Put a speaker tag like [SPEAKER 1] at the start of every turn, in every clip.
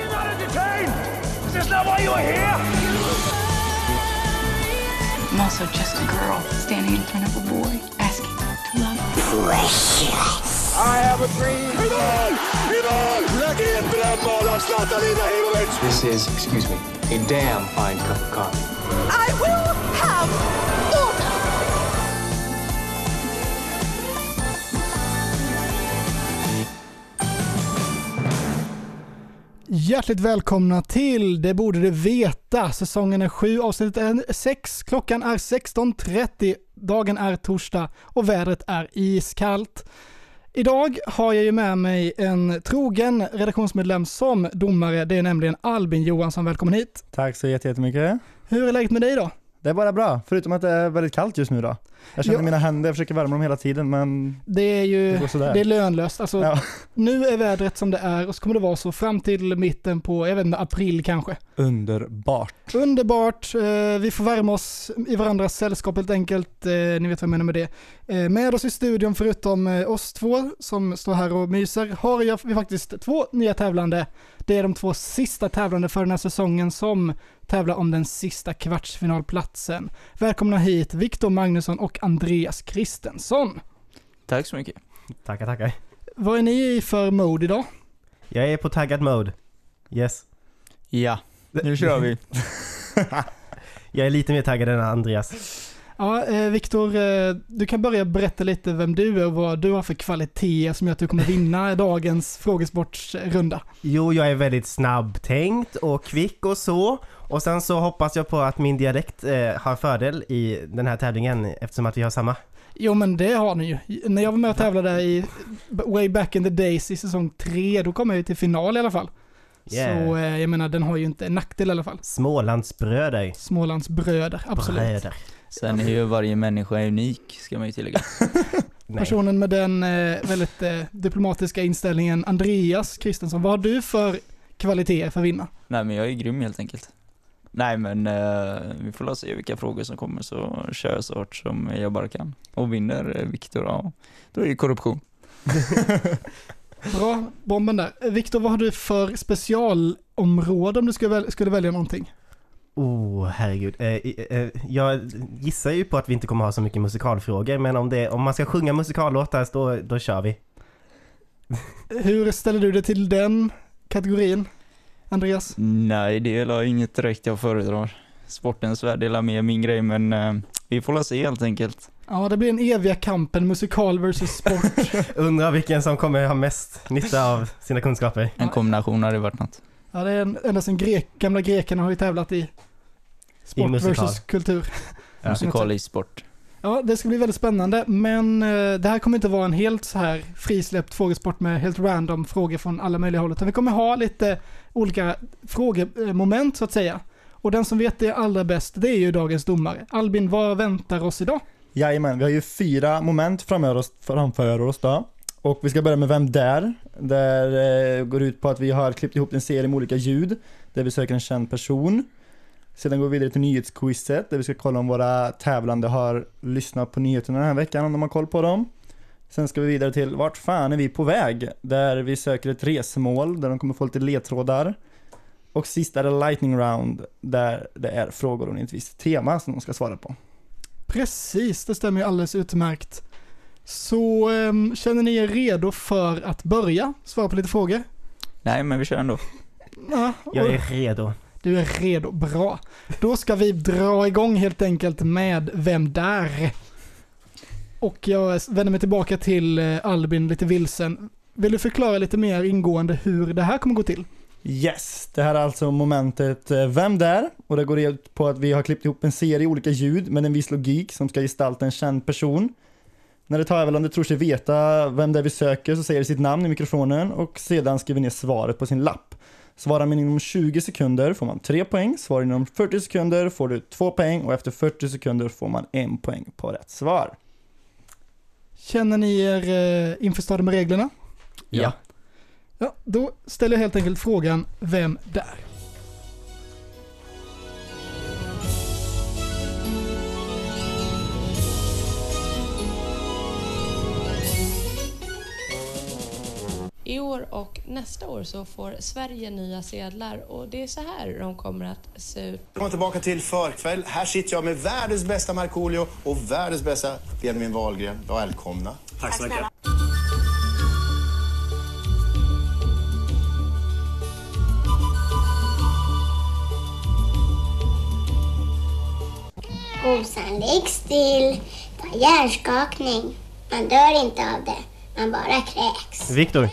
[SPEAKER 1] entertained. Is this not why you are here?
[SPEAKER 2] I'm also just a girl standing in front of a boy asking to love.
[SPEAKER 1] I have a dream. Idag! Idag! Raket drömmer om Zlatan Ibrahimovic.
[SPEAKER 3] This is, excuse me, a damn fine cup of coffee.
[SPEAKER 4] I will have order.
[SPEAKER 5] Hjärtligt välkomna till Det borde du veta. Säsongen är 7, avsnittet är 6, klockan är 16.30, dagen är torsdag och vädret är iskallt. Idag har jag ju med mig en trogen redaktionsmedlem som domare, det är nämligen Albin Johansson. Välkommen hit.
[SPEAKER 6] Tack så jätte- jättemycket.
[SPEAKER 5] Hur är läget med dig då?
[SPEAKER 6] Det är bara bra, förutom att det är väldigt kallt just nu då. Jag känner
[SPEAKER 5] Ja.
[SPEAKER 6] mina händer, jag försöker värma dem hela tiden men
[SPEAKER 5] Det är ju
[SPEAKER 6] Det går sådär.
[SPEAKER 5] det är lönlöst. Alltså,
[SPEAKER 6] ja.
[SPEAKER 5] Nu är vädret som det är och så kommer det vara så fram till mitten på, jag vet inte, april kanske.
[SPEAKER 6] Underbart.
[SPEAKER 5] Underbart, Eh, vi får värma oss i varandras sällskap helt enkelt. Eh, Ni vet vad jag menar med det. Eh, Med oss i studion förutom eh, oss två som står här och myser har jag- vi faktiskt två nya tävlande. Det är de två sista tävlande för den här säsongen som tävlar om den sista kvartsfinalplatsen. Välkomna hit Viktor Magnusson och Andreas Kristensson.
[SPEAKER 7] Tack så mycket.
[SPEAKER 8] Tackar, tackar.
[SPEAKER 5] Vad är ni i för mode idag?
[SPEAKER 8] Jag är på taggad mode. Yes.
[SPEAKER 7] Ja, nu kör vi.
[SPEAKER 8] Jag är lite mer taggad än Andreas.
[SPEAKER 5] Ja, eh, Viktor, eh, du kan börja berätta lite vem du är och vad du har för kvaliteter som gör att du kommer vinna dagens frågesportsrunda.
[SPEAKER 8] Jo, jag är väldigt snabbtänkt och kvick och så. Och sen så hoppas jag på att min dialekt eh, har fördel i den här tävlingen eftersom att vi har samma.
[SPEAKER 5] Jo men det har ni ju. När jag var med och tävlade i Way Back in the Days i säsong 3, då kom jag ju till final i alla fall.
[SPEAKER 8] Yeah.
[SPEAKER 5] Så eh, jag menar, den har ju inte en nackdel i alla fall.
[SPEAKER 8] Smålandsbröder.
[SPEAKER 5] Smålands bröder, absolut.
[SPEAKER 8] Bröder.
[SPEAKER 7] Sen är ju varje människa unik, ska man ju tillägga.
[SPEAKER 8] Nej.
[SPEAKER 5] Personen med den eh, väldigt eh, diplomatiska inställningen, Andreas Kristensson, vad har du för kvaliteter för att vinna?
[SPEAKER 7] Nej men jag är grym helt enkelt. Nej men eh, vi får la se vilka frågor som kommer så kör jag så hårt som jag bara kan. Och vinner eh, Viktor, ja då är det korruption.
[SPEAKER 5] Bra, bomben där. Eh, Viktor, vad har du för specialområde om du skulle, väl, skulle välja någonting?
[SPEAKER 8] Oh, herregud. Eh, i- eh, jag gissar ju på att vi inte kommer ha så mycket musikalfrågor men om, det, om man ska sjunga musikallåtar då, då kör vi.
[SPEAKER 5] Hur ställer du dig till den kategorin, Andreas?
[SPEAKER 7] Nej det är väl inget direkt jag föredrar. Sportens värld är väl mer min grej men eh, vi får la se helt enkelt.
[SPEAKER 5] Ja, det blir den eviga kampen, musikal versus sport.
[SPEAKER 8] Undrar vilken som kommer ha mest nytta av sina kunskaper.
[SPEAKER 7] En kombination hade varit något.
[SPEAKER 5] Ja, det är en, ända sedan grek, gamla grekerna har ju tävlat i sport
[SPEAKER 8] musikal.
[SPEAKER 5] versus kultur.
[SPEAKER 8] Ja.
[SPEAKER 7] Musikalisk sport.
[SPEAKER 5] Ja, det ska bli väldigt spännande, men eh, det här kommer inte vara en helt så här frisläppt frågesport med helt random frågor från alla möjliga håll, utan vi kommer ha lite olika frågemoment så att säga. Och den som vet det allra bäst, det är ju dagens domare. Albin, vad väntar oss idag?
[SPEAKER 6] Jajamän, vi har ju fyra moment framför oss, framför oss då. Och vi ska börja med Vem där? Där eh, går ut på att vi har klippt ihop en serie med olika ljud där vi söker en känd person. Sedan går vi vidare till nyhetsquizet där vi ska kolla om våra tävlande har lyssnat på nyheterna den här veckan, om de har koll på dem. Sen ska vi vidare till Vart fan är vi på väg? Där vi söker ett resmål där de kommer få lite ledtrådar. Och sist är det Lightning Round där det är frågor om ett visst tema som de ska svara på.
[SPEAKER 5] Precis, det stämmer ju alldeles utmärkt. Så ehm, känner ni er redo för att börja svara på lite frågor?
[SPEAKER 7] Nej men vi kör ändå.
[SPEAKER 5] Ja, och-
[SPEAKER 8] Jag är redo.
[SPEAKER 5] Du är redo, bra. Då ska vi dra igång helt enkelt med Vem där? Och jag vänder mig tillbaka till eh, Albin lite vilsen. Vill du förklara lite mer ingående hur det här kommer gå till?
[SPEAKER 6] Yes, det här är alltså momentet eh, Vem där? Och det går ut på att vi har klippt ihop en serie olika ljud med en viss logik som ska gestalta en känd person. När det tävlande tror sig veta vem det är vi söker så säger det sitt namn i mikrofonen och sedan skriver ner svaret på sin lapp. Svarar man inom 20 sekunder får man 3 poäng, svarar inom 40 sekunder får du 2 poäng och efter 40 sekunder får man 1 poäng på rätt svar.
[SPEAKER 5] Känner ni er eh, införstådda med reglerna?
[SPEAKER 7] Ja.
[SPEAKER 5] Ja, då ställer jag helt enkelt frågan Vem där?
[SPEAKER 9] I år och nästa år så får Sverige nya sedlar och det är så här de kommer att se ut.
[SPEAKER 10] Välkommen tillbaka till förkväll. Här sitter jag med världens bästa Markoolio och världens bästa Benjamin Wahlgren. Välkomna. Tack så mycket.
[SPEAKER 11] Osan, ligg still. Ta hjärnskakning. Man dör inte av det. Man bara kräks.
[SPEAKER 8] Viktor.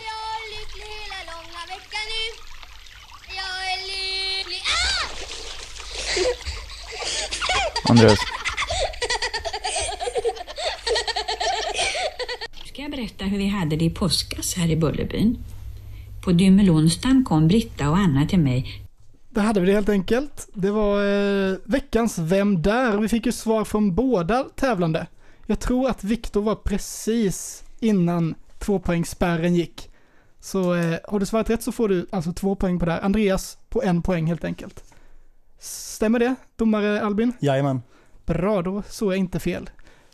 [SPEAKER 7] Andreas.
[SPEAKER 12] Ska jag berätta hur vi hade det i påskas här i Bullerbyn? På dymmelonsdagen kom Britta och Anna till mig.
[SPEAKER 5] Där hade vi det helt enkelt. Det var eh, veckans Vem där? Vi fick ju svar från båda tävlande. Jag tror att Viktor var precis innan tvåpoängsspärren gick. Så eh, har du svarat rätt så får du alltså två poäng på det här. Andreas på en poäng helt enkelt. Stämmer det, domare Albin?
[SPEAKER 6] Jajamän.
[SPEAKER 5] Bra, då såg jag inte fel.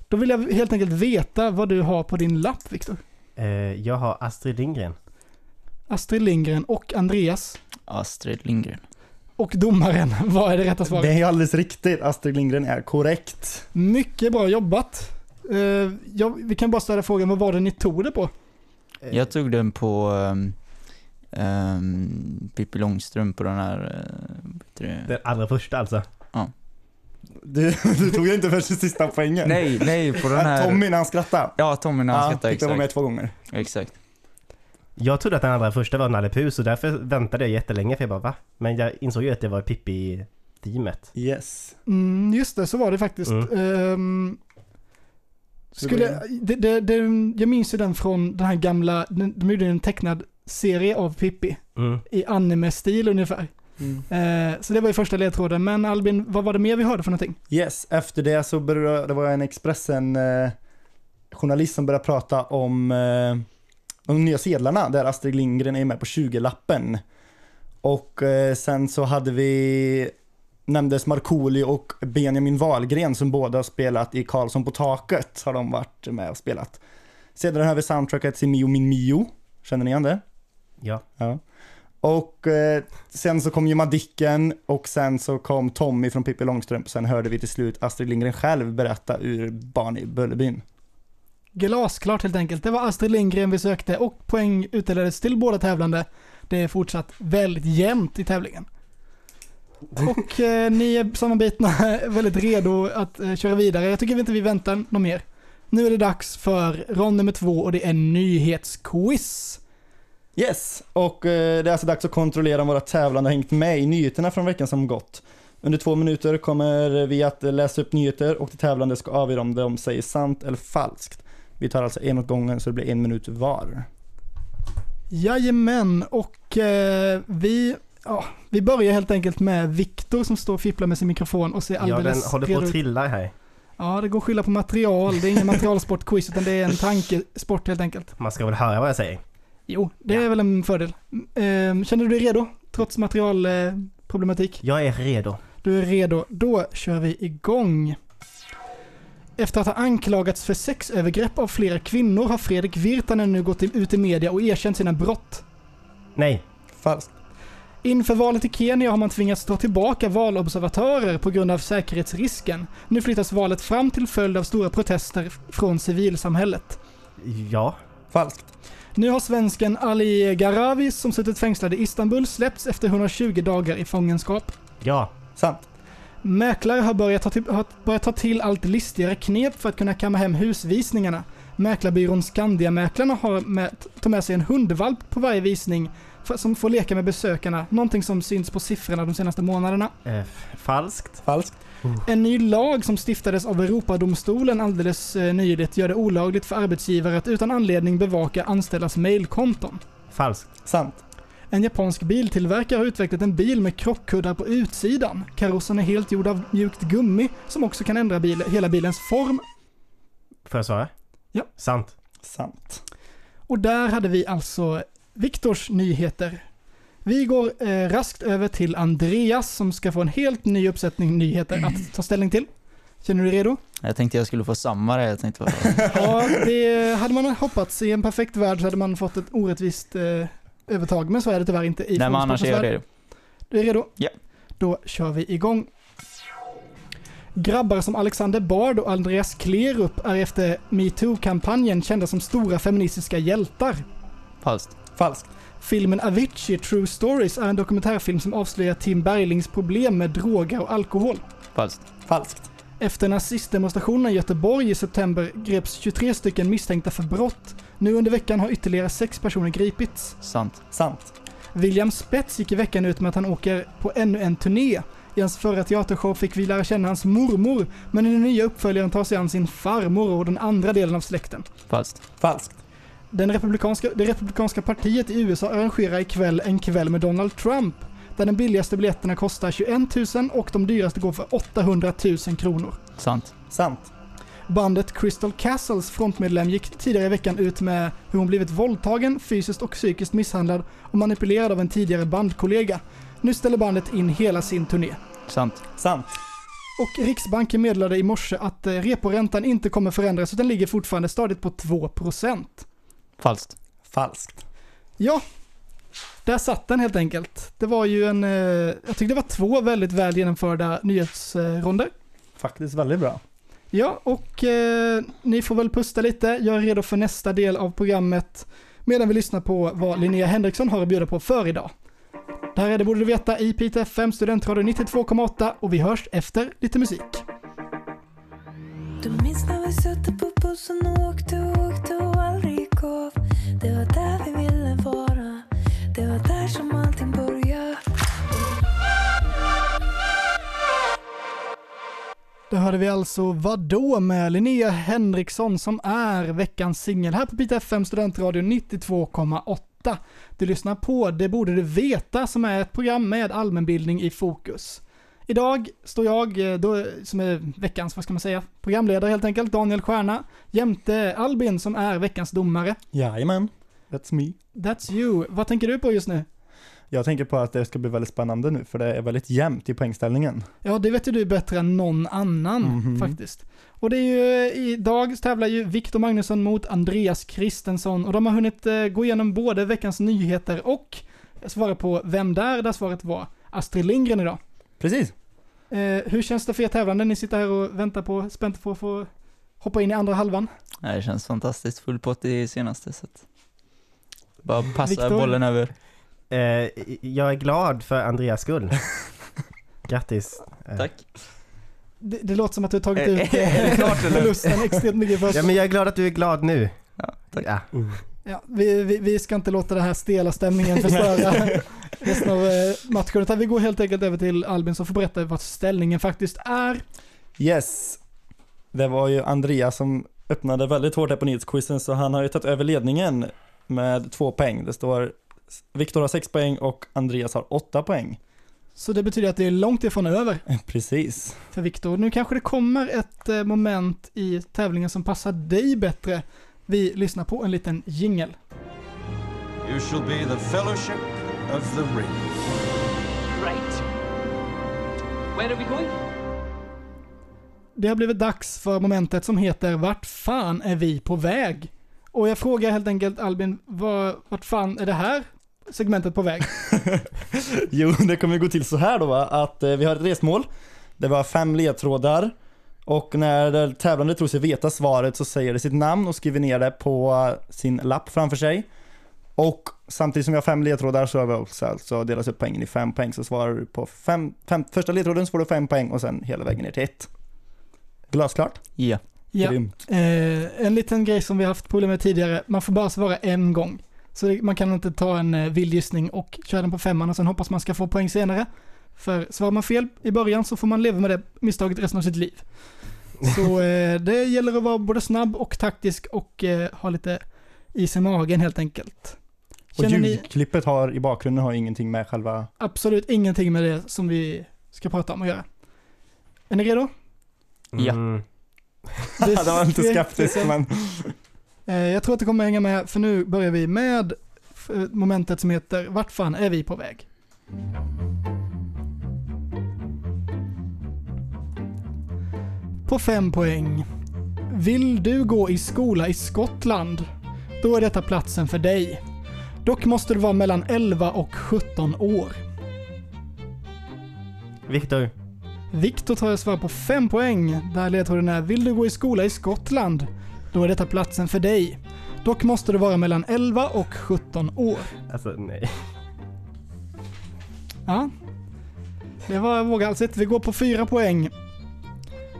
[SPEAKER 5] Då vill jag helt enkelt veta vad du har på din lapp, Viktor.
[SPEAKER 8] Eh, jag har Astrid Lindgren.
[SPEAKER 5] Astrid Lindgren och Andreas
[SPEAKER 7] Astrid Lindgren.
[SPEAKER 5] och domaren, vad är det rätta svaret?
[SPEAKER 6] Det är ju alldeles riktigt. Astrid Lindgren är korrekt.
[SPEAKER 5] Mycket bra jobbat. Eh, ja, vi kan bara ställa frågan, vad var det ni tog det på?
[SPEAKER 7] Jag tog den på um, um, Pippi Långstrump på den här... eh, vad heter det?
[SPEAKER 8] Den allra första alltså.
[SPEAKER 6] Eh, Du, du tog ju inte först sista poängen.
[SPEAKER 7] Nej, nej, på den här...
[SPEAKER 6] Tommy när han skrattade.
[SPEAKER 7] Ja, Tommy när han skrattade,
[SPEAKER 6] fick jag vara med
[SPEAKER 7] exakt.
[SPEAKER 6] två gånger.
[SPEAKER 7] Exakt.
[SPEAKER 8] Jag trodde att den allra första var Nalle Puh, så därför väntade jag jättelänge för jag bara va? Men jag insåg ju att det var Pippi-teamet.
[SPEAKER 6] Yes.
[SPEAKER 5] Mm, just det, så var det faktiskt.
[SPEAKER 8] Mm.
[SPEAKER 5] Ehm,
[SPEAKER 6] Så
[SPEAKER 5] skulle, det, det, det, jag minns ju den från den här gamla, den- de gjorde en tecknad serie av Pippi
[SPEAKER 8] Mm.
[SPEAKER 5] i anime-stil ungefär.
[SPEAKER 6] Mm.
[SPEAKER 5] Eh, så det var ju första ledtråden, men Albin, vad var det mer vi hörde för någonting?
[SPEAKER 6] Yes, efter det så berör, det var en Expressen eh, journalist som började prata om eh, de nya sedlarna där Astrid Lindgren är med på 20-lappen. Och eh, sen så hade vi nämndes Markoolio och Benjamin Wahlgren som båda har spelat i Karlsson på taket har de varit med och spelat. Sedan har vi soundtracket till Mio min Mio. Känner ni igen det?
[SPEAKER 8] Ja.
[SPEAKER 6] Ja. Och eh, sen så kom ju Madicken och sen så kom Tommy från Pippi Långstrump. Sen hörde vi till slut Astrid Lindgren själv berätta ur Barn i Bullerbyn.
[SPEAKER 5] Glasklart helt enkelt. Det var Astrid Lindgren vi sökte och poäng utdelades till båda tävlande. Det är fortsatt väldigt jämnt i tävlingen. Och eh, ni är sammanbitna väldigt redo att eh, köra vidare. Jag tycker inte vi väntar något mer. Nu är det dags för rond nummer två och det är nyhetsquiz.
[SPEAKER 6] Yes, och eh, det är alltså dags att kontrollera om våra tävlande har hängt med i nyheterna från veckan som gått. Under två minuter kommer vi att läsa upp nyheter och de tävlande ska avgöra om de säger sant eller falskt. Vi tar alltså en åt gången så det blir en minut var.
[SPEAKER 5] Jajamän, och eh, vi, ja, vi börjar helt enkelt med Viktor som står och fipplar med sin mikrofon och ser
[SPEAKER 8] Ja, den
[SPEAKER 5] alldeles
[SPEAKER 8] håller på
[SPEAKER 5] redo
[SPEAKER 8] att
[SPEAKER 5] ut.
[SPEAKER 8] trilla här.
[SPEAKER 5] Ja, det går att skylla på material. Det är ingen materialsportquiz utan det är en tankesport helt enkelt.
[SPEAKER 8] Man ska väl höra vad jag säger.
[SPEAKER 5] Jo, det är väl en fördel. Ehm, Känner du dig redo? Trots materialproblematik?
[SPEAKER 8] Jag är redo.
[SPEAKER 5] Du är redo. Då kör vi igång. Efter att ha anklagats för sexövergrepp av flera kvinnor har Fredrik Virtanen nu gått ut i media och erkänt sina brott.
[SPEAKER 8] Nej.
[SPEAKER 6] Falskt.
[SPEAKER 5] Inför valet i Kenya har man tvingats ta tillbaka valobservatörer på grund av säkerhetsrisken. Nu flyttas valet fram till följd av stora protester från civilsamhället.
[SPEAKER 8] Ja.
[SPEAKER 6] Falskt.
[SPEAKER 5] Nu har svensken Ali Gharavi som suttit fängslad i Istanbul släppts efter 120 dagar i fångenskap.
[SPEAKER 8] Ja.
[SPEAKER 6] Sant.
[SPEAKER 5] Mäklare har börjat ta, till, har börjat ta till allt listigare knep för att kunna kamma hem husvisningarna. Mäklarbyrån Skandiamäklarna har med, tar med sig en hundvalp på varje visning för, som får leka med besökarna, någonting som syns på siffrorna de senaste månaderna.
[SPEAKER 8] Eh, f- falskt.
[SPEAKER 6] Falskt.
[SPEAKER 5] En ny lag som stiftades av Europadomstolen alldeles eh, nyligt gör det olagligt för arbetsgivare att utan anledning bevaka anställdas mejlkonton.
[SPEAKER 8] Falskt.
[SPEAKER 6] Sant.
[SPEAKER 5] En japansk biltillverkare har utvecklat en bil med krockkuddar på utsidan. Karossen är helt gjord av mjukt gummi som också kan ändra bil, hela bilens form.
[SPEAKER 8] Får jag svara?
[SPEAKER 5] Ja.
[SPEAKER 8] Sant.
[SPEAKER 6] Sant.
[SPEAKER 5] Och där hade vi alltså Viktors nyheter. Vi går eh, raskt över till Andreas som ska få en helt ny uppsättning nyheter att ta ställning till. Känner du dig redo?
[SPEAKER 7] Jag tänkte jag skulle få samma där, jag tänkte bara,
[SPEAKER 5] Ja, det hade man hoppats. I en perfekt värld så hade man fått ett orättvist eh, övertag, men så är det tyvärr inte i
[SPEAKER 7] nej men annars är jag
[SPEAKER 5] fotbollens värld.
[SPEAKER 7] redo.
[SPEAKER 5] Du är redo?
[SPEAKER 7] Ja.
[SPEAKER 5] Då kör vi igång. Grabbar som Alexander Bard och Andreas Klerup är efter metoo-kampanjen kända som stora feministiska hjältar.
[SPEAKER 7] Falskt.
[SPEAKER 5] Falskt. Filmen Avicii True Stories är en dokumentärfilm som avslöjar Tim Berglings problem med droger och alkohol.
[SPEAKER 7] Falskt.
[SPEAKER 5] Falskt. Efter nazistdemonstrationen i Göteborg i september greps 23 stycken misstänkta för brott. Nu under veckan har ytterligare sex personer gripits.
[SPEAKER 7] Sant.
[SPEAKER 5] Sant. William Spets gick i veckan ut med att han åker på ännu en turné. I hans förra teatershow fick vi lära känna hans mormor, men i den nya uppföljaren tar sig an sin farmor och den andra delen av släkten.
[SPEAKER 7] Falskt.
[SPEAKER 5] Falskt. Den republikanska, det republikanska partiet i USA arrangerar ikväll en kväll med Donald Trump, där den billigaste biljetterna kostar 21 000 och de dyraste går för 800 000 kronor.
[SPEAKER 7] Sant.
[SPEAKER 5] Sant. Bandet Crystal Castles frontmedlem gick tidigare i veckan ut med hur hon blivit våldtagen, fysiskt och psykiskt misshandlad och manipulerad av en tidigare bandkollega. Nu ställer bandet in hela sin turné.
[SPEAKER 7] Sant.
[SPEAKER 5] Sant. Och Riksbanken meddelade i morse att eh, reporäntan inte kommer förändras utan ligger fortfarande stadigt på 2%.
[SPEAKER 7] Falskt.
[SPEAKER 6] Falskt.
[SPEAKER 5] Ja, där satt den helt enkelt. Det var ju en, eh, jag tyckte det var två väldigt väl genomförda nyhetsronder.
[SPEAKER 6] Faktiskt väldigt bra.
[SPEAKER 5] Ja, och eh, ni får väl pusta lite. Jag är redo för nästa del av programmet medan vi lyssnar på vad Linnea Henriksson har att bjuda på för idag. Det här är Det borde du veta i Piteå FM Studentradio 92,8 och vi hörs efter lite musik.
[SPEAKER 13] Du minns när vi satt på bussen och åkte och åkte och aldrig gav Det var där vi ville vara Det var där som allting började
[SPEAKER 5] Där hörde vi alltså Vadå med Linnea Henriksson som är veckans singel här på Piteå FM Studentradio 92,8. Du lyssnar på Det borde du veta som är ett program med allmänbildning i fokus. Idag står jag, eh, då, som är veckans, vad ska man säga, programledare helt enkelt, Daniel Stjärna, jämte Albin som är veckans domare.
[SPEAKER 6] Jajamän, that's me.
[SPEAKER 5] That's you. Vad tänker du på just nu?
[SPEAKER 6] Jag tänker på att det ska bli väldigt spännande nu för det är väldigt jämnt i poängställningen.
[SPEAKER 5] Ja, det vet ju du bättre än någon annan
[SPEAKER 6] Mhm.
[SPEAKER 5] faktiskt. Och det är ju, eh, idag tävlar ju Viktor Magnusson mot Andreas Kristensson och de har hunnit eh, gå igenom både veckans nyheter och eh, svara på Vem där? där svaret var Astrid Lindgren idag.
[SPEAKER 6] Precis.
[SPEAKER 5] Eh, hur känns det för er tävlande? Ni sitter här och väntar på, spänt på att få hoppa in i andra halvan.
[SPEAKER 7] Nej, det känns fantastiskt. Full pott i senaste så att... Bara passa
[SPEAKER 5] Viktor?
[SPEAKER 7] bollen över.
[SPEAKER 8] Eh, jag är glad för Andreas skull. Grattis. Eh,
[SPEAKER 7] Tack.
[SPEAKER 5] Det, det låter som att du har tagit
[SPEAKER 8] Eh,
[SPEAKER 5] ut
[SPEAKER 8] är det
[SPEAKER 5] eh,
[SPEAKER 8] klart eller?
[SPEAKER 5] förlusten extremt mycket först.
[SPEAKER 8] Ja, men jag är glad att du är glad nu.
[SPEAKER 7] Ja,
[SPEAKER 8] tack.
[SPEAKER 5] Ja, vi, vi, vi ska inte låta den här stela stämningen förstöra resten av eh, matchen. Utan vi går helt enkelt över till Albin som får berätta vad ställningen faktiskt är.
[SPEAKER 6] Yes. Det var ju Andreas som öppnade väldigt hårt här på nyhetsquizen så han har ju tagit över ledningen med två poäng. Det står Viktor har sex poäng och Andreas har åtta poäng.
[SPEAKER 5] Så det betyder att det är långt ifrån över
[SPEAKER 6] Precis.
[SPEAKER 5] för Viktor. Nu kanske det kommer ett eh, moment i tävlingen som passar dig bättre. Vi lyssnar på en liten jingel.
[SPEAKER 1] You shall be the fellowship of the ring.
[SPEAKER 14] Right. Where are we going?
[SPEAKER 5] Det har blivit dags för momentet som heter Vart fan är vi på väg? Och jag frågar helt enkelt Albin, var, vart fan är det här segmentet på väg?
[SPEAKER 6] Jo, det kommer gå till så här då va, att eh, vi har ett resmål. Det var fem ledtrådar och när den tävlande tror sig veta svaret så säger det sitt namn och skriver ner det på eh, sin lapp framför sig. Och samtidigt som vi har fem ledtrådar så har vi också alltså delas upp poängen i fem poäng. Så svarar du på fem, fem, första ledtråden så får du fem poäng och sen hela vägen ner till ett. Glasklart?
[SPEAKER 7] Ja.
[SPEAKER 5] Ja.
[SPEAKER 6] Grymt.
[SPEAKER 5] Eh, en liten grej som vi har haft problem med tidigare, man får bara svara en gång. Så det- man kan inte ta en eh, vild gissning och köra den på femman och sen hoppas man ska få poäng senare. För svarar man fel i början så får man leva med det misstaget resten av sitt liv. Så eh, det gäller att vara både snabb och taktisk och eh, ha lite is i magen helt enkelt.
[SPEAKER 6] Och
[SPEAKER 5] Känner ni
[SPEAKER 6] ljudklippet har i bakgrunden har ingenting med själva...
[SPEAKER 5] absolut ingenting med det som vi ska prata om att göra? Är ni redo?
[SPEAKER 6] Ja.
[SPEAKER 5] Det
[SPEAKER 6] Mm. det var inte
[SPEAKER 5] skrek
[SPEAKER 6] skeptisk
[SPEAKER 5] liksom.
[SPEAKER 6] men...
[SPEAKER 5] Eh, Jag tror att det kommer hänga med, för nu börjar vi med f- momentet som heter Vart fan är vi på väg? på fem poäng. Vill du gå i skola i Skottland? Då är detta platsen för dig. Dock måste du vara mellan 11 och 17 år.
[SPEAKER 8] Viktor.
[SPEAKER 5] Viktor tar jag svar på 5 poäng, där ledtråden är “Vill du gå i skola i Skottland? Då är detta platsen för dig. Dock måste du vara mellan 11 och 17 år.”
[SPEAKER 8] Alltså nej.
[SPEAKER 5] Ja, det var våghalsigt. Vi går på 4 poäng.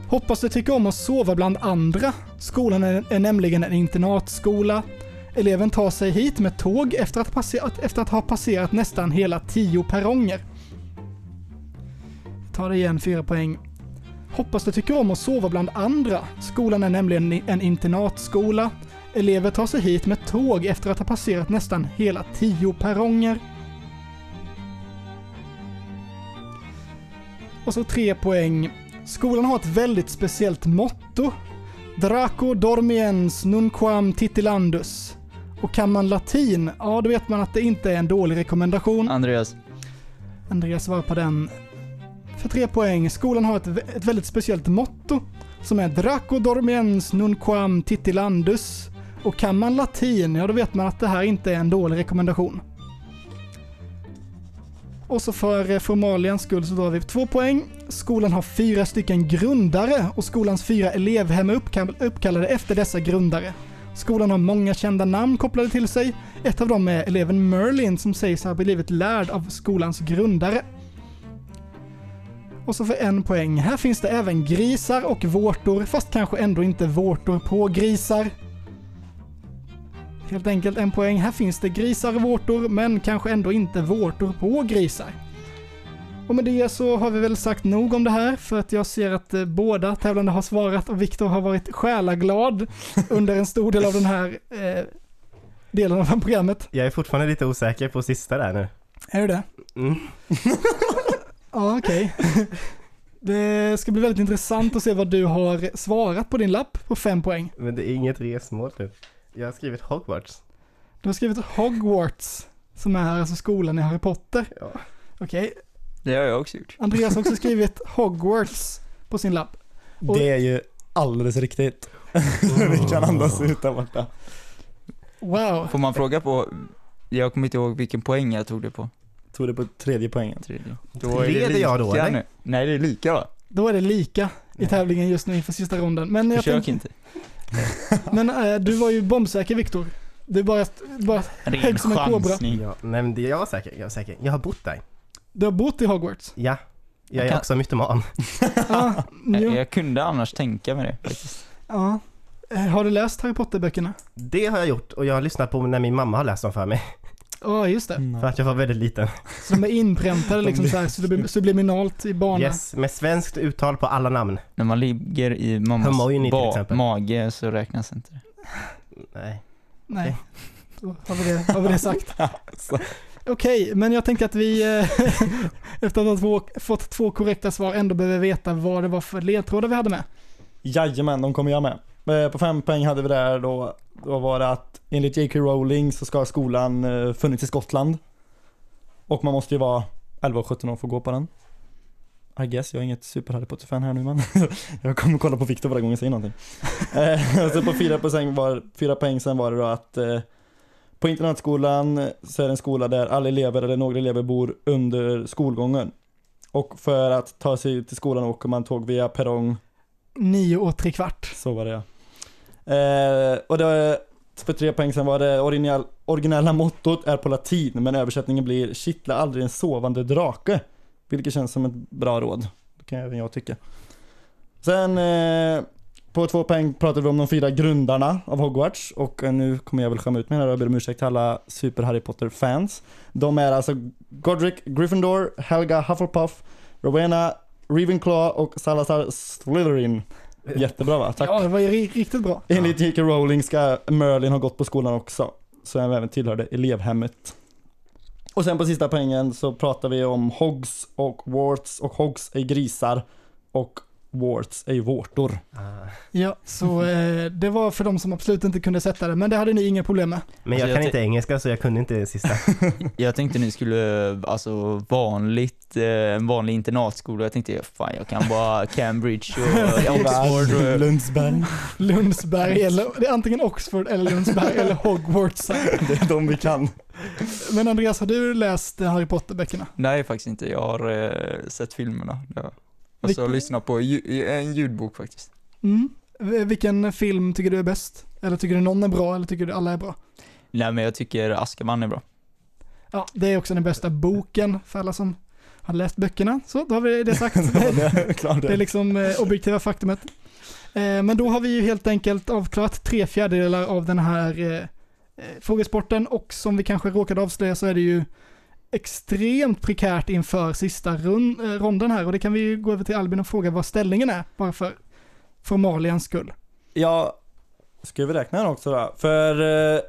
[SPEAKER 5] Hoppas du tycker om att sova bland andra. Skolan är, är nämligen en internatskola. Eleven tar sig hit med tåg efter att, passe- efter att ha passerat nästan hela 10 perronger. Ta det igen, fyra poäng. Hoppas du tycker om att sova bland andra. Skolan är nämligen i- en internatskola. Elever tar sig hit med tåg efter att ha passerat nästan hela tio perronger. Och så tre poäng. Skolan har ett väldigt speciellt motto. Draco dormiens nunquam titilandus. Och kan man latin, ja då vet man att det inte är en dålig rekommendation.
[SPEAKER 7] Andreas.
[SPEAKER 5] Andreas svarar på den för tre poäng. Skolan har ett, vä- ett väldigt speciellt motto som är Draco dormiens nunquam titilandus. Och kan man latin, ja då vet man att det här inte är en dålig rekommendation. Och så för eh, formalians skull så drar vi två poäng. Skolan har fyra stycken grundare och skolans fyra elevhem är uppkall- uppkallade efter dessa grundare. Skolan har många kända namn kopplade till sig. Ett av dem är eleven Merlin som sägs ha blivit lärd av skolans grundare. Och så för en poäng. Här finns det även grisar och vårtor, fast kanske ändå inte vårtor på grisar. Helt enkelt en poäng. Här finns det grisar och vårtor, men kanske ändå inte vårtor på grisar. Och med det så har vi väl sagt nog om det här, för att jag ser att eh, båda tävlande har svarat och Viktor har varit själaglad under en stor del av den här eh, delen av programmet.
[SPEAKER 8] Jag är fortfarande lite osäker på sista där nu.
[SPEAKER 5] Är du det?
[SPEAKER 8] Mm.
[SPEAKER 5] Ja, okej. Det ska bli väldigt intressant att se vad du har svarat på din lapp på fem poäng.
[SPEAKER 8] Men det är inget resmål nu. Jag har skrivit Hogwarts.
[SPEAKER 5] Du har skrivit Hogwarts, som är alltså skolan i Harry Potter. Okej,
[SPEAKER 7] Det har jag också gjort.
[SPEAKER 5] Andreas har också skrivit Hogwarts på sin lapp. Och- Oh.
[SPEAKER 6] Det är ju alldeles riktigt. Vi kan andas ut där borta.
[SPEAKER 5] Wow.
[SPEAKER 7] Får man fråga på, jag kommer inte ihåg vilken poäng jag tog det på.
[SPEAKER 6] Tog det på tredje poängen.
[SPEAKER 7] Tredje.
[SPEAKER 5] Leder jag då, eller?
[SPEAKER 7] nu. Nej det är lika va?
[SPEAKER 5] Då är det lika i tävlingen just nu inför sista ronden. Men jag
[SPEAKER 7] Försök
[SPEAKER 5] tänkte-
[SPEAKER 7] inte.
[SPEAKER 5] Men eh, du var ju bombsäker Viktor. Du bara, bara högg som en kobra.
[SPEAKER 8] Ja, nej men det- jag var säker, jag var säker. Jag har bott där.
[SPEAKER 5] Du har bott i Hogwarts?
[SPEAKER 8] Ja. Jag
[SPEAKER 7] Jag
[SPEAKER 8] är
[SPEAKER 7] kan-
[SPEAKER 8] också mytoman.
[SPEAKER 7] Jag, jag kunde annars tänka mig det faktiskt.
[SPEAKER 5] Ja. Eh, Har du läst Harry Potter-böckerna?
[SPEAKER 8] Det har jag gjort och jag har lyssnat på när min mamma har läst dem för mig.
[SPEAKER 5] Ja, just det.
[SPEAKER 8] För att jag var väldigt liten.
[SPEAKER 5] Så de är inpräntade liksom så här sublim- subliminalt i barnen.
[SPEAKER 8] Yes, med svenskt uttal på alla namn.
[SPEAKER 7] När man ligger i mammas
[SPEAKER 8] Hermione till
[SPEAKER 7] ba-
[SPEAKER 8] exempel.
[SPEAKER 7] mage så räknas inte det.
[SPEAKER 8] Nej.
[SPEAKER 5] Nej, då har vi det, har vi det sagt. Okej, men jag tänkte att vi eh, efter att ha två, fått två korrekta svar ändå behöver veta vad det var för ledtrådar vi hade med.
[SPEAKER 6] Jajamän, de kommer jag med. Eh, På fem poäng hade vi där då, då var det att enligt J.K. Rowling så ska skolan eh, funnits i Skottland. Och man måste ju vara 11 och 17 år för att gå på den. I guess, jag är inget super Harry Potter-fan här nu men jag kommer kolla på Viktor varje gång jag säger någonting. Eh, så på fyra poäng, var, fyra poäng sen var det då att eh, på internatskolan så är det en skola där alla elever eller några elever bor under skolgången. Och för att ta sig till skolan åker man tåg via perrong
[SPEAKER 5] Nio och tre kvart.
[SPEAKER 6] så var det ja. Eh, och det, för tre poäng sen var det original, originella mottot är på latin men översättningen blir kittla aldrig en sovande drake. Vilket känns som ett bra råd. Det kan även jag tycka. Sen eh, på två poäng pratade vi om de fyra grundarna av Hogwarts och eh, nu kommer jag väl skämma ut mig här och jag ber om ursäkt till alla super Harry Potter-fans. De är alltså Godric Gryffindor, Helga Hufflepuff, Rowena Ravenclaw och Salazar Slytherin. Jättebra va? Tack.
[SPEAKER 5] Ja, det var ju ri- riktigt bra.
[SPEAKER 6] Enligt J.K. Rowling ska Merlin ha gått på skolan också. Så han även tillhörde elevhemmet. Och sen på sista poängen så pratar vi om Hogs och Warts och Hogs är grisar och warts är ju vårtor.
[SPEAKER 8] ah.
[SPEAKER 5] Ja, så eh, det var för de som absolut inte kunde sätta det, men det hade ni inga problem med.
[SPEAKER 8] Men jag
[SPEAKER 7] Alltså, jag
[SPEAKER 8] kan
[SPEAKER 7] tänk-
[SPEAKER 8] inte engelska så jag kunde inte det sista.
[SPEAKER 7] Jag tänkte ni skulle, alltså vanligt, eh, en vanlig internatskola, jag tänkte fan jag kan bara Cambridge och Oxford och
[SPEAKER 6] Lundsberg.
[SPEAKER 5] Lundsberg eller, det är antingen Oxford eller Lundsberg eller Hogwarts.
[SPEAKER 6] Det är de vi kan.
[SPEAKER 5] Men Andreas, har du läst Harry Potter-böckerna?
[SPEAKER 7] Nej faktiskt inte, jag har eh, sett filmerna. Ja. Och
[SPEAKER 5] Vilken-
[SPEAKER 7] så lyssnat på ju, en ljudbok faktiskt.
[SPEAKER 5] Mm. V- Vilken film tycker du är bäst? Eller tycker du någon är bra eller tycker du alla är bra?
[SPEAKER 7] Nej men jag tycker Askaban är bra.
[SPEAKER 5] Ja, det är också den bästa boken för alla som har läst böckerna. Så då har vi det sagt. Det är liksom eh, objektiva faktumet. Eh, men då har vi ju helt enkelt avklarat tre fjärdedelar av den här eh, eh, frågesporten och som vi kanske råkade avslöja så är det ju extremt prekärt inför sista rund, eh, ronden här och det kan vi ju gå över till Albin och fråga vad ställningen är bara för formalians skull.
[SPEAKER 6] Ja, ska vi räkna den också då? För eh,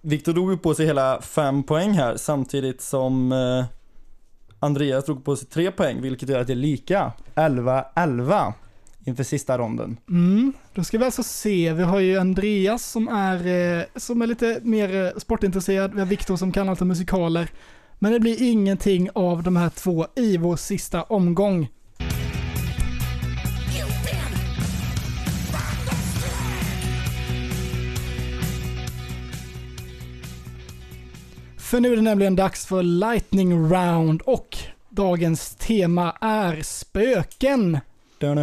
[SPEAKER 6] Viktor drog ju på sig hela fem poäng här samtidigt som eh, Andreas drog på sig tre poäng vilket gör att det är lika. 11-11 inför sista ronden.
[SPEAKER 5] Mm, då ska vi alltså se, vi har ju Andreas som är, eh, som är lite mer eh, sportintresserad, vi har Viktor som kan allt om musikaler. Men det blir ingenting av de här två i vår sista omgång. För nu är det nämligen dags för Lightning Round och dagens tema är spöken.
[SPEAKER 6] Ja,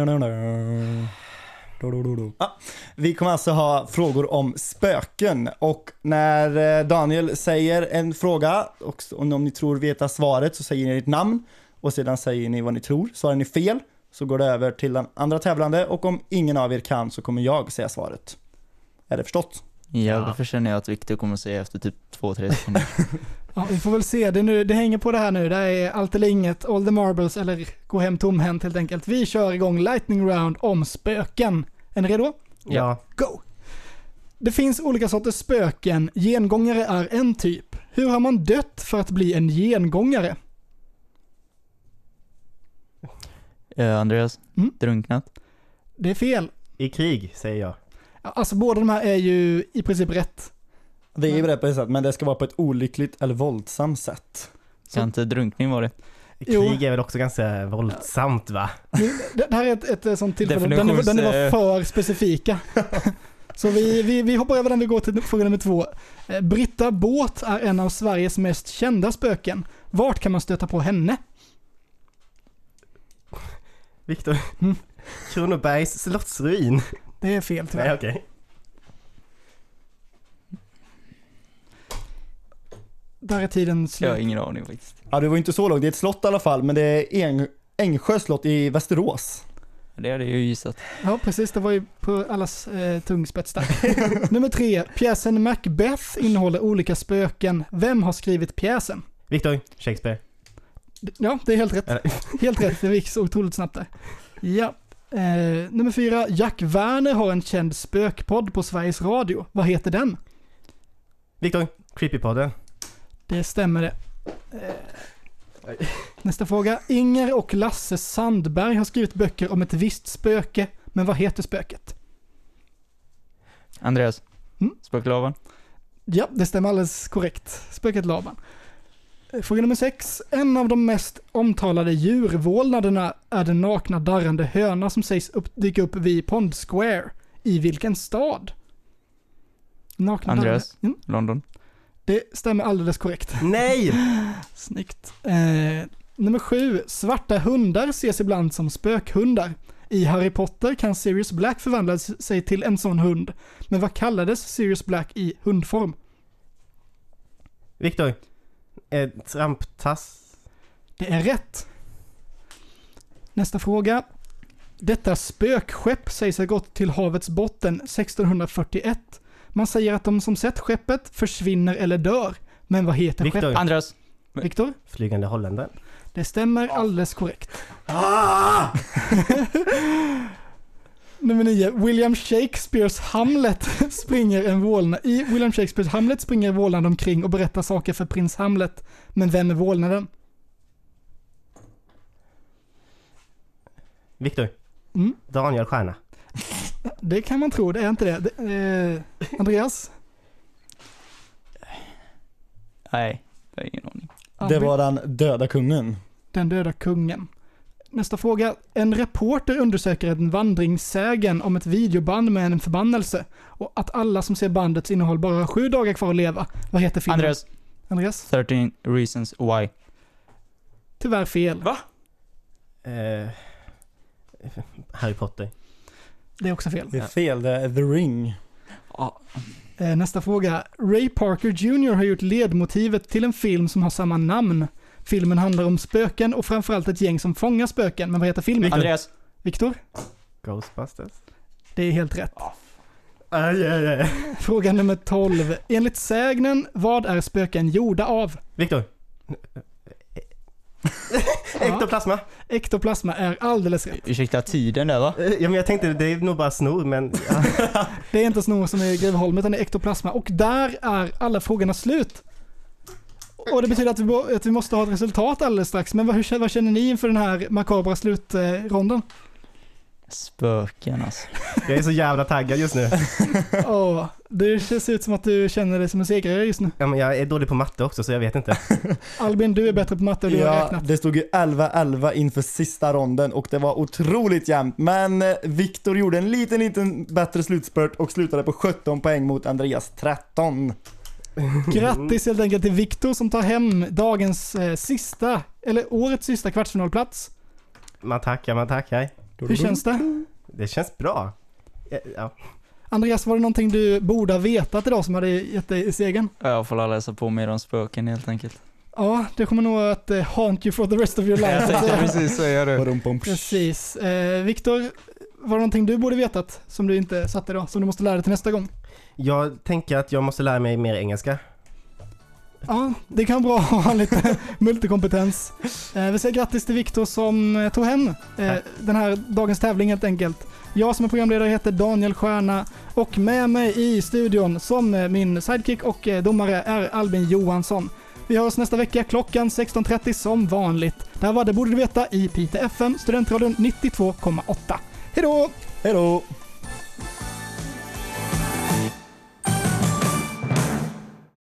[SPEAKER 6] vi kommer alltså ha frågor om spöken och när eh, Daniel säger en fråga och s- om om ni tror veta svaret så säger ni ert namn och sedan säger ni vad ni tror. Svarar ni fel så går det över till den andra tävlande och om ingen av er kan så kommer jag säga svaret. Är det förstått?
[SPEAKER 7] Ja, varför känner jag att Victor kommer säga efter typ två, tre sekunder?
[SPEAKER 5] Ja, vi får väl se. Det, nu, det hänger på det här nu. Det här är allt eller inget, all the marbles eller gå hem tomhänt helt enkelt. Vi kör igång lightning round om spöken. Är ni redo?
[SPEAKER 8] Ja.
[SPEAKER 5] Go! Det finns olika sorters spöken. Gengångare är en typ. Hur har man dött för att bli en gengångare?
[SPEAKER 7] Eh, Andreas,
[SPEAKER 5] Mm.
[SPEAKER 7] drunknat?
[SPEAKER 5] Det är fel.
[SPEAKER 8] I krig, säger jag.
[SPEAKER 5] Ja, Alltså båda de här är ju i princip rätt.
[SPEAKER 6] Det är ju det på ett sätt, men det ska vara på ett olyckligt eller våldsamt sätt.
[SPEAKER 7] Kan inte drunkning vara det?
[SPEAKER 5] Jo.
[SPEAKER 8] Krig är väl också ganska våldsamt va?
[SPEAKER 5] Nu- Det, det här är ett, ett, eh, sånt tillfälle där ni,
[SPEAKER 8] Definitions-
[SPEAKER 5] där ni var
[SPEAKER 8] eh.
[SPEAKER 5] för specifika. Så vi, vi, vi hoppar över den, vi går till fråga nummer två. Eh, Britta Båt är en av Sveriges mest kända spöken. Vart kan man stöta på henne?
[SPEAKER 8] Viktor, Kronobergs slottsruin.
[SPEAKER 5] Det är fel tyvärr.
[SPEAKER 8] Nej, okej.
[SPEAKER 5] Där är tiden
[SPEAKER 7] Jag har
[SPEAKER 5] slut.
[SPEAKER 7] ingen aning faktiskt.
[SPEAKER 6] Ja, det var ju inte så långt. Det är ett slott i alla fall, men det är Eng- Ängsjö slott i Västerås.
[SPEAKER 7] Det hade jag ju gissat.
[SPEAKER 5] Ja, precis. Det var ju på allas eh, tungspets där. nummer tre. Pjäsen Macbeth innehåller olika spöken. Vem har skrivit pjäsen?
[SPEAKER 8] Viktor, Shakespeare.
[SPEAKER 5] Ja, det är helt rätt.
[SPEAKER 8] Eller-
[SPEAKER 5] Helt rätt, det gick så otroligt snabbt där. Ja. Eh, nummer fyra, Jack Werner har en känd spökpodd på Sveriges Radio. Vad heter den?
[SPEAKER 8] Viktor, Creepypodden.
[SPEAKER 5] Det stämmer det. Eh, nästa fråga. Inger och Lasse Sandberg har skrivit böcker om ett visst spöke, men vad heter spöket?
[SPEAKER 7] Andreas,
[SPEAKER 5] Mm.
[SPEAKER 7] spöklavan?
[SPEAKER 5] Ja, det stämmer alldeles korrekt. Spöket Laban. Eh, Fråga nummer sex. En av de mest omtalade djurvålnaderna är den nakna darrande höna som sägs upp, dyka upp vid Pond Square. I vilken stad? Nakna
[SPEAKER 7] Andreas,
[SPEAKER 5] darrande- Mm,
[SPEAKER 7] London?
[SPEAKER 5] det stämmer alldeles korrekt.
[SPEAKER 8] Nej!
[SPEAKER 5] Snyggt. Eh, nummer sju. Svarta hundar ses ibland som spökhundar. I Harry Potter kan Sirius Black förvandla sig till en sån hund. Men vad kallades Sirius Black i hundform?
[SPEAKER 8] Viktor, eh, Tramptass.
[SPEAKER 5] Det är rätt. Nästa fråga. Detta spökskepp sägs ha gått till havets botten 1641. Man säger att de som sett skeppet försvinner eller dör. Men vad heter
[SPEAKER 8] Viktor.
[SPEAKER 5] skeppet?
[SPEAKER 7] Andreas.
[SPEAKER 5] Viktor?
[SPEAKER 8] Flygande holländaren.
[SPEAKER 5] Det stämmer alldeles korrekt.
[SPEAKER 8] Ah!
[SPEAKER 5] Nummer nio. William Shakespeares Hamlet springer en vålnad. I William Shakespeares Hamlet springer en vålnad omkring och berättar saker för prins Hamlet. Men vem är vålnaden?
[SPEAKER 8] Viktor, Daniel Stjärna.
[SPEAKER 5] Det kan man tro, det är inte det. det eh, Andreas?
[SPEAKER 7] Nej, jag har ingen aning.
[SPEAKER 6] Det var den döda kungen.
[SPEAKER 5] Den döda kungen. Nästa fråga. En reporter undersöker en vandringssägen om ett videoband med en förbannelse och att alla som ser bandets innehåll bara har sju dagar kvar att leva. Vad heter filmen?
[SPEAKER 7] Andreas.
[SPEAKER 5] Andreas?
[SPEAKER 7] 13 reasons why.
[SPEAKER 5] Tyvärr fel. Va?
[SPEAKER 8] Eh, Harry Potter.
[SPEAKER 5] Det är också fel.
[SPEAKER 6] Det är fel, det är The Ring.
[SPEAKER 5] Eh, Nästa fråga. Ray Parker Jr har gjort ledmotivet till en film som har samma namn. Filmen handlar om spöken och framförallt ett gäng som fångar spöken. Men vad heter filmen?
[SPEAKER 8] Victor. Andreas.
[SPEAKER 5] Viktor?
[SPEAKER 8] Ghostbusters.
[SPEAKER 5] Det är helt rätt.
[SPEAKER 8] Aj, aj, aj.
[SPEAKER 5] Fråga nummer 12. Enligt sägnen, vad är spöken gjorda av?
[SPEAKER 8] Viktor. Ektoplasma.
[SPEAKER 5] Ektoplasma är alldeles rätt.
[SPEAKER 7] Ursäkta tiden där va?
[SPEAKER 8] Eh, Ja, men jag tänkte det är nog bara snor men... Ja.
[SPEAKER 5] Det är inte snor som är i Greveholm utan det är ektoplasma. Och där är alla frågorna slut. Och det betyder att vi, bo- att vi måste ha ett resultat alldeles strax. Men vad, hur, vad känner ni inför den här makabra slutronden?
[SPEAKER 7] Spöken alltså.
[SPEAKER 8] Jag är så jävla taggad just nu.
[SPEAKER 5] Åh, det ser ut som att du känner dig som en segrare just nu.
[SPEAKER 8] Ja, men jag är dålig på matte också så jag vet inte.
[SPEAKER 5] Albin, du är bättre på matte och du har
[SPEAKER 6] Ja,
[SPEAKER 5] räknat.
[SPEAKER 6] det stod ju 11-11 inför sista ronden och det var otroligt jämnt. Men eh, Viktor gjorde en liten, liten bättre slutspurt och slutade på 17 poäng mot Andreas 13.
[SPEAKER 5] Grattis helt enkelt till Viktor som tar hem dagens eh, sista, eller årets sista kvartsfinalplats.
[SPEAKER 8] Man tackar, man tackar.
[SPEAKER 6] Mm.
[SPEAKER 5] Hur känns det?
[SPEAKER 8] Det känns bra. Ja, Ja.
[SPEAKER 5] Andreas, var det någonting du borde ha vetat idag som hade gett dig segern?
[SPEAKER 7] Jag får läsa på mer om spöken helt enkelt.
[SPEAKER 5] Ja, det kommer nog att eh, haunt you for the rest of your life.
[SPEAKER 7] Jag tänkte
[SPEAKER 5] Eh,
[SPEAKER 7] precis säga det.
[SPEAKER 5] Precis. Eh, Viktor, var det någonting du borde vetat som du inte satte idag, som du måste lära dig till nästa gång?
[SPEAKER 8] Jag tänker att jag måste lära mig mer engelska.
[SPEAKER 5] Ja, det kan vara bra att ha lite multikompetens. Eh, vi säger grattis till Viktor som eh, tog hem eh, den här dagens tävling helt enkelt. Jag som är programledare heter Daniel Stjärna och med mig i studion som eh, min sidekick och eh, domare är Albin Johansson. Vi hörs nästa vecka klockan 16.30 som vanligt. Det här var Det borde du veta i Piteå FM, Studentradion 92,8. Hej då!
[SPEAKER 6] Hej då!